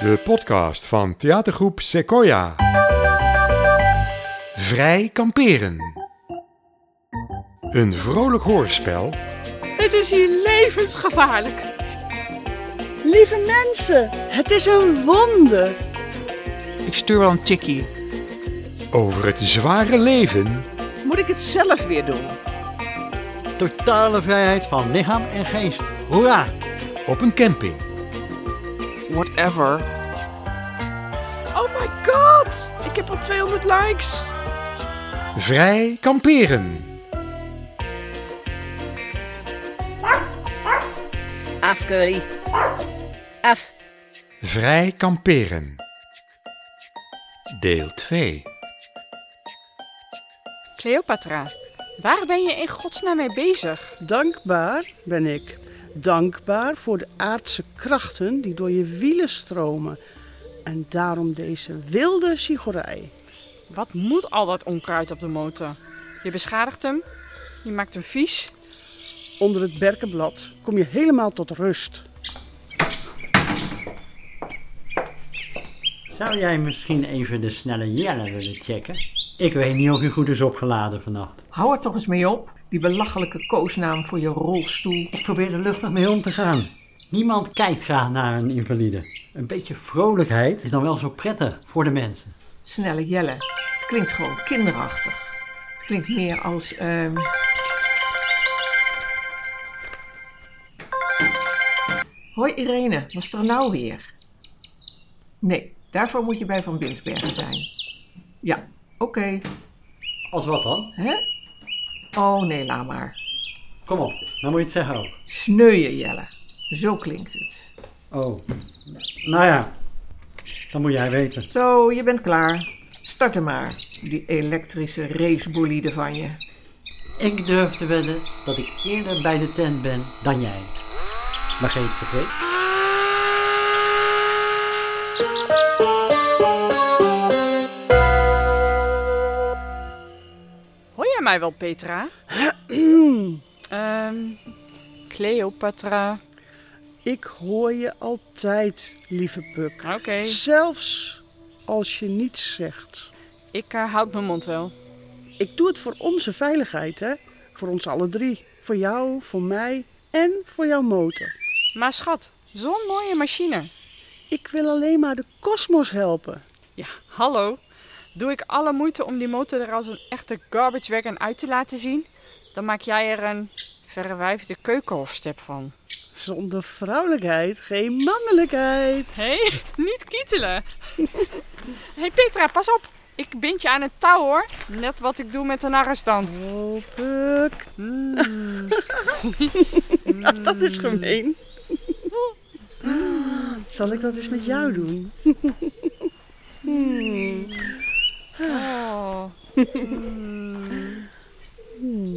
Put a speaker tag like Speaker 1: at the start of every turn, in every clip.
Speaker 1: De podcast van theatergroep Sequoia. Vrij kamperen. Een vrolijk hoorspel
Speaker 2: Het is hier levensgevaarlijk.
Speaker 3: Lieve mensen, het is een wonder.
Speaker 2: Ik stuur wel een tikkie.
Speaker 1: over het zware leven
Speaker 3: Moet ik het zelf weer doen?
Speaker 4: Totale vrijheid van lichaam en geest. Hoera!
Speaker 1: op een camping.
Speaker 2: Whatever.
Speaker 3: Oh my god, ik heb al 200 likes.
Speaker 1: Vrij kamperen.
Speaker 5: Af, Curly. Af.
Speaker 1: Vrij kamperen. Deel 2.
Speaker 2: Cleopatra, waar ben je in godsnaam mee bezig?
Speaker 3: Dankbaar ben ik. Dankbaar voor de aardse krachten die door je wielen stromen. En daarom deze wilde sigorij.
Speaker 2: Wat moet al dat onkruid op de motor? Je beschadigt hem, je maakt hem vies.
Speaker 3: Onder het berkenblad kom je helemaal tot rust.
Speaker 4: Zou jij misschien even de snelle Jelle willen checken? Ik weet niet of hij goed is opgeladen vannacht.
Speaker 6: Hou er toch eens mee op, die belachelijke koosnaam voor je rolstoel.
Speaker 4: Ik probeer er luchtig mee om te gaan. Niemand kijkt graag naar een invalide. Een beetje vrolijkheid is dan wel zo prettig voor de mensen.
Speaker 6: Snelle Jelle. Het klinkt gewoon kinderachtig. Het klinkt meer als. ehm, Hoi Irene, was er nou weer? Nee, daarvoor moet je bij Van Binsbergen zijn. Ja, oké.
Speaker 4: Als wat dan?
Speaker 6: Hè? Oh nee, laat maar.
Speaker 4: Kom op, dan moet je het zeggen ook.
Speaker 6: Sneuien Jelle. Zo klinkt het.
Speaker 4: Oh, nou ja, dan moet jij weten.
Speaker 6: Zo, je bent klaar. Start hem maar, die elektrische racebolide van je.
Speaker 4: Ik durf te wedden dat ik eerder bij de tent ben dan jij. Maar geen vergeet.
Speaker 2: Hoor jij mij wel, Petra? Ehm, Cleopatra.
Speaker 3: Ik hoor je altijd, lieve Puk.
Speaker 2: Oké,
Speaker 3: Zelfs als je niets zegt.
Speaker 2: ik eh, houd mijn mond wel.
Speaker 3: Ik doe het voor onze veiligheid, hè? Voor ons alle drie. Voor jou, voor mij en voor jouw motor.
Speaker 2: Maar schat, zo'n mooie machine.
Speaker 3: Ik wil alleen maar de kosmos helpen.
Speaker 2: Ja, hallo. Doe ik alle moeite om die motor er als een echte garbage wagon uit te laten zien? Dan maak jij er een verwijfde keukenhofstep van.
Speaker 3: Zonder vrouwelijkheid geen mannelijkheid.
Speaker 2: Hé, niet kietelen. Hé hey Petra, pas op. Ik bind je aan het touw hoor. Net wat ik doe met een arrestant.
Speaker 3: Oh, Puk.
Speaker 2: Mm.
Speaker 3: Dat is gemeen. Zal ik dat eens met jou doen? Hmm.
Speaker 2: Oh. Mm.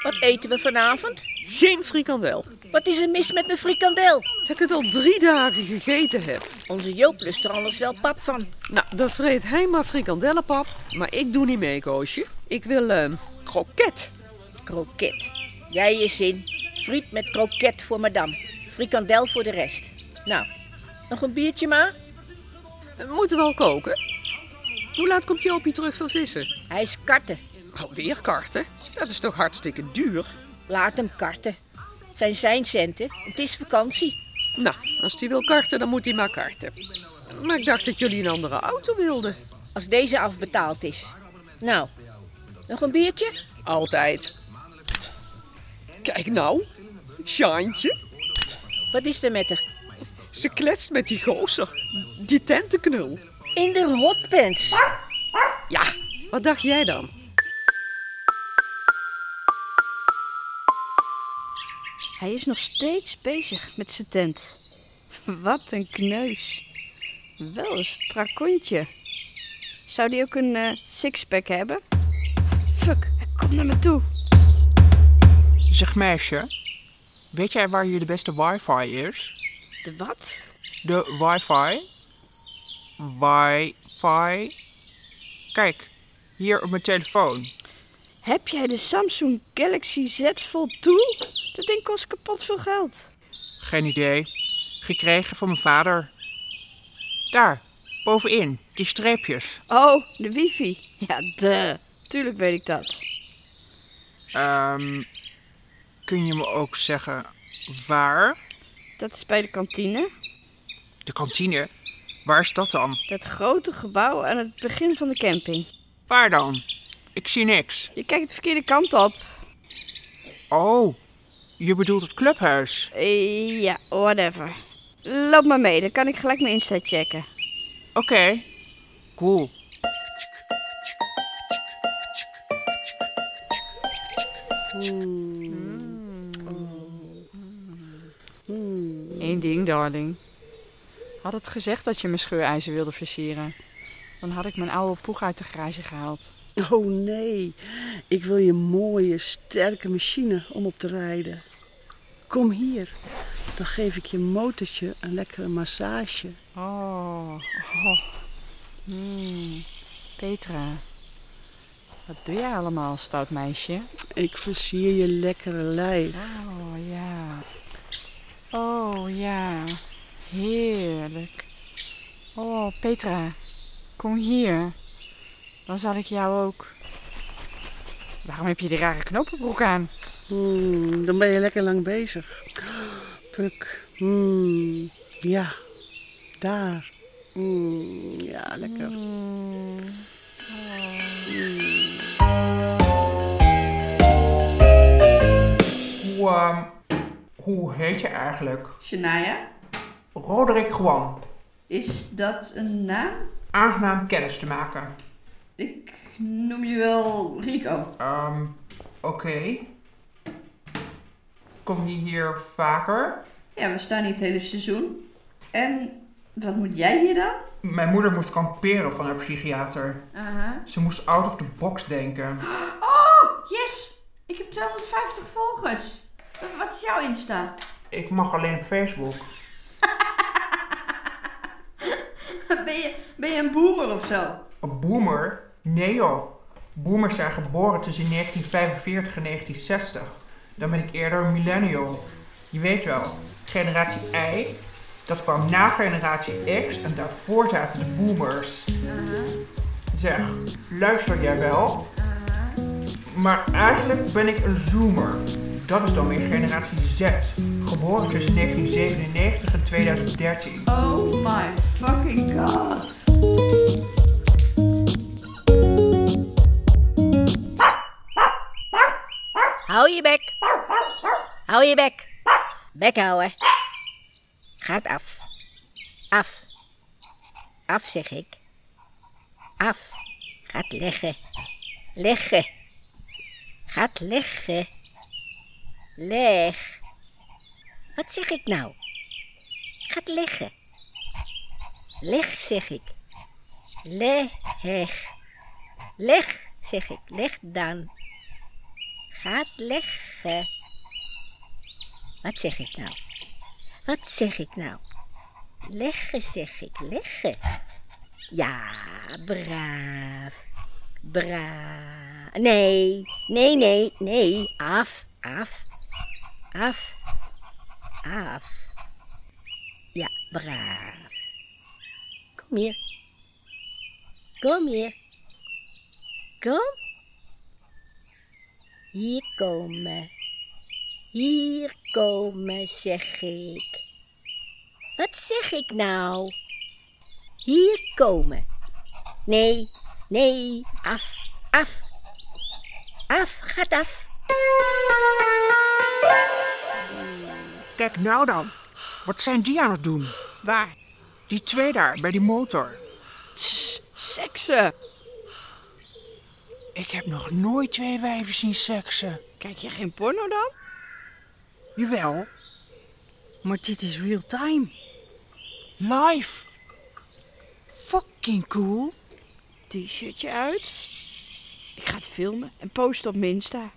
Speaker 7: Wat eten we vanavond? Geen frikandel. Wat is er mis met mijn frikandel?
Speaker 8: Dat ik het al drie dagen gegeten heb.
Speaker 7: Onze Joop lust er anders wel pap van.
Speaker 8: Nou, dan vreet hij maar frikandellenpap. Maar ik doe niet mee, Koosje. Ik wil ehm kroket.
Speaker 7: Kroket. Jij is in. Friet met kroket voor madame. Frikandel voor de rest. Nou, nog een biertje maar?
Speaker 8: Moeten we al koken? Hoe laat komt Jopie terug van vissen?
Speaker 7: Hij is karten.
Speaker 8: Alweer karten? Dat is toch hartstikke duur?
Speaker 7: Laat hem karten. Het zijn zijn centen. Het is vakantie.
Speaker 8: Nou, als hij wil karten, dan moet hij maar karten. Maar ik dacht dat jullie een andere auto wilden.
Speaker 7: Als deze afbetaald is. Nou, nog een biertje?
Speaker 8: Altijd. Kijk nou. Sjaantje.
Speaker 7: Wat is er met haar?
Speaker 8: Ze kletst met die gozer. Die tentenknul.
Speaker 7: In de hotpants.
Speaker 8: Ja, Ah, wat dacht jij dan?
Speaker 5: Hij is nog steeds bezig met zijn tent. Wat een kneus. Wel een strak kontje. Zou die ook een eh, sixpack hebben? Fuck, hij komt naar me toe.
Speaker 9: Zeg meisje, weet jij waar hier de beste wifi is?
Speaker 5: De wat?
Speaker 9: De wifi? Wifi? Kijk, hier op mijn telefoon.
Speaker 5: Heb jij de Samsung Galaxy Z Fold 2? Dat ding kost kapot veel geld.
Speaker 9: Geen idee. Gekregen van mijn vader. Daar, bovenin, die streepjes.
Speaker 5: Oh, de wifi. Ja, de. Tuurlijk weet ik dat.
Speaker 9: Ehm, kun je me ook zeggen waar?
Speaker 5: Dat is bij de kantine.
Speaker 9: De kantine? Waar is dat dan?
Speaker 5: Dat grote gebouw aan het begin van de camping.
Speaker 9: Waar dan? Ik zie niks.
Speaker 5: Je kijkt de verkeerde kant op.
Speaker 9: Oh, je bedoelt het clubhuis.
Speaker 5: Eh, Ja, whatever. Loop maar mee, dan kan ik gelijk mijn Insta checken.
Speaker 9: Oké, cool.
Speaker 2: Eén ding, darling. Had het gezegd dat je mijn scheurijzer wilde versieren. Dan had ik mijn oude poeg uit de garage gehaald.
Speaker 3: Oh nee, ik wil je mooie, sterke machine om op te rijden. Kom hier, dan geef ik je motortje een lekkere massage.
Speaker 2: Oh, oh. Hmm. Petra. Wat doe jij allemaal, stout meisje?
Speaker 3: Ik versier je lekkere lijf.
Speaker 2: Oh ja. Oh ja. Heerlijk. Oh, Petra. Kom hier. Dan zal ik jou ook. Waarom heb je die rare knopenbroek aan?
Speaker 3: Hmm, dan ben je lekker lang bezig. Puk. Hmm, ja, daar. Hmm, ja, lekker.
Speaker 9: Hoe, ehm, hoe heet je eigenlijk?
Speaker 5: Shania,
Speaker 9: Roderick Juan.
Speaker 5: is dat een naam?
Speaker 9: Aangenaam kennis te maken.
Speaker 5: Ik noem je wel Rico.
Speaker 9: Ehm, oké. Kom je hier vaker?
Speaker 5: Ja, we staan hier het hele seizoen. En wat moet jij hier dan?
Speaker 9: Mijn moeder moest kamperen van haar psychiater.
Speaker 5: Aha.
Speaker 9: Ze moest out of the box denken.
Speaker 5: Oh, yes! Ik heb 250 volgers. Wat is jouw Insta?
Speaker 9: Ik mag alleen op Facebook.
Speaker 5: Ben je, ben je een boomer of zo?
Speaker 9: Een boomer? Nee joh. Boomers zijn geboren tussen 1945 en 1960. Dan ben ik eerder een millennial. Je weet wel, generatie Y, dat kwam na generatie X en daarvoor zaten de boomers. Zeg, luister jij wel? Maar eigenlijk ben ik een zoomer. Dat is dan weer generatie Z, geboren tussen 1997 en 2013.
Speaker 5: Oh my fucking god.
Speaker 7: Hou je bek. Hou je bek. Bek houden. Gaat af. Af. Af, zeg ik. Af. Gaat leggen. Leggen. Gaat leggen. Leg. Wat zeg ik nou? Gaat leggen. Leg, zeg ik. Leg. Leg, zeg ik. Leg dan gaat leggen. Wat zeg ik nou? Wat zeg ik nou? Leggen zeg ik, leggen. Ja, braaf. Braaf. Nee, nee, nee, nee. Af, af. Af. Af. Ja, braaf. Kom hier. Kom hier. Kom hier komen. Hier komen, zeg ik. Wat zeg ik nou? Hier komen. Nee, nee, af, af. Af, gaat af.
Speaker 9: Kijk nou dan. Wat zijn die aan het doen?
Speaker 5: Waar?
Speaker 9: Die twee daar, bij die motor.
Speaker 5: Tss, seksen.
Speaker 9: Ik heb nog nooit twee wijven zien seksen.
Speaker 5: Kijk je geen porno dan?
Speaker 9: Jawel,
Speaker 5: Maar dit is real time.
Speaker 9: live. Fucking cool.
Speaker 5: T-shirtje uit. Ik ga het filmen en posten op mijn Insta.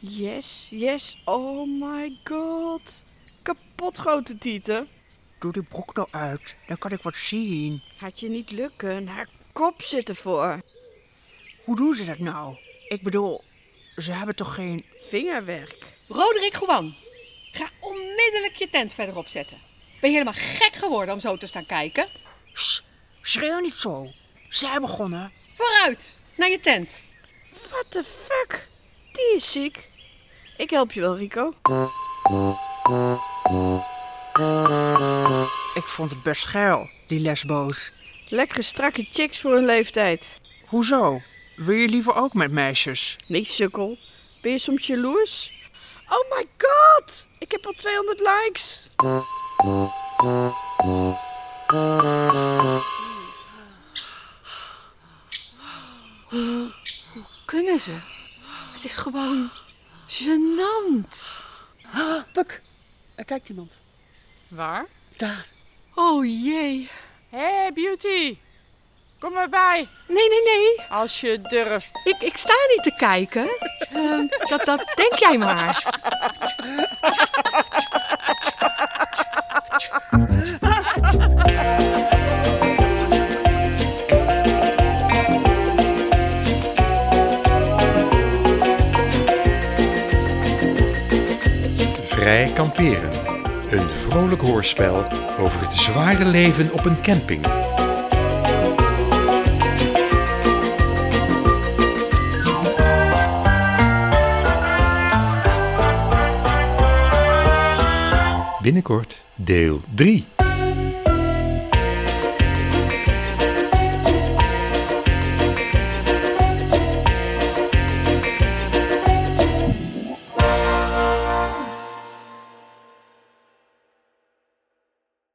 Speaker 5: Yes, yes, oh my god. Kapot grote tieten.
Speaker 9: Doe die broek nou uit, dan kan ik wat zien.
Speaker 5: Gaat je niet lukken, haar kop zit ervoor.
Speaker 9: Hoe doen ze dat nou? Ik bedoel,
Speaker 8: ze hebben toch geen...
Speaker 10: Vingerwerk.
Speaker 7: Roderick Gouan, ga onmiddellijk je tent verderop zetten. Ben je helemaal gek geworden om zo te staan kijken?
Speaker 8: Sst, schreeuw niet zo. Zij begonnen.
Speaker 7: Vooruit, naar je tent.
Speaker 10: What the fuck? Die is ziek. Ik help je wel, Rico.
Speaker 8: Ik vond het best geil, die lesboos.
Speaker 10: Lekkere strakke chicks voor hun leeftijd.
Speaker 8: Hoezo? Wil je liever ook met meisjes?
Speaker 10: Nee, sukkel. Ben je soms jaloers? Oh my god! Ik heb al 200 likes.
Speaker 2: Kunnen ze? Het is gewoon gênant.
Speaker 11: Ah, Puk, er kijkt iemand.
Speaker 2: Waar?
Speaker 11: Daar.
Speaker 2: Oh jee. Hé, hey, beauty. Kom maar bij.
Speaker 7: Nee, nee, nee.
Speaker 2: Als je durft.
Speaker 7: Ik, ik sta niet te kijken. Ehm, dat, dat denk jij maar.
Speaker 1: Vrij kamperen. Een vrolijk hoorspel over het zware leven op een camping. Binnenkort deel 3.